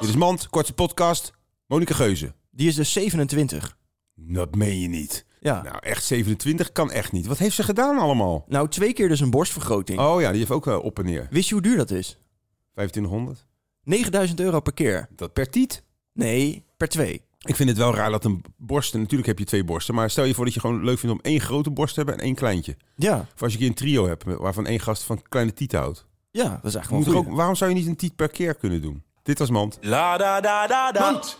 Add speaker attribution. Speaker 1: Dit is Mand, korte podcast. Monika Geuze.
Speaker 2: Die is dus 27.
Speaker 1: Dat meen je niet.
Speaker 2: Ja. Nou.
Speaker 1: Nou, echt 27 kan echt niet. Wat heeft ze gedaan allemaal?
Speaker 2: twee keer dus een borstvergroting.
Speaker 1: Oh ja, die heeft ook eh, op en neer.
Speaker 2: Wist je hoe duur dat is?
Speaker 1: 2500.
Speaker 2: 9000 euro per keer.
Speaker 1: Dat per tiet.
Speaker 2: Nee, per twee.
Speaker 1: Ik vind het wel raar dat een borst... en Natuurlijk heb je twee borsten. Maar stel je voor dat je gewoon leuk vindt om één grote borst te hebben en één kleintje.
Speaker 2: Ja,
Speaker 1: Of als je een keer een trio hebt met- waarvan één gast van kleine tiet houdt.
Speaker 2: ja, dat is eigenlijk
Speaker 1: Moet
Speaker 2: wel
Speaker 1: er
Speaker 2: goed.
Speaker 1: ook, waarom zou je niet een tiet per keer kunnen doen? Dit was Mand.
Speaker 3: La da da da da.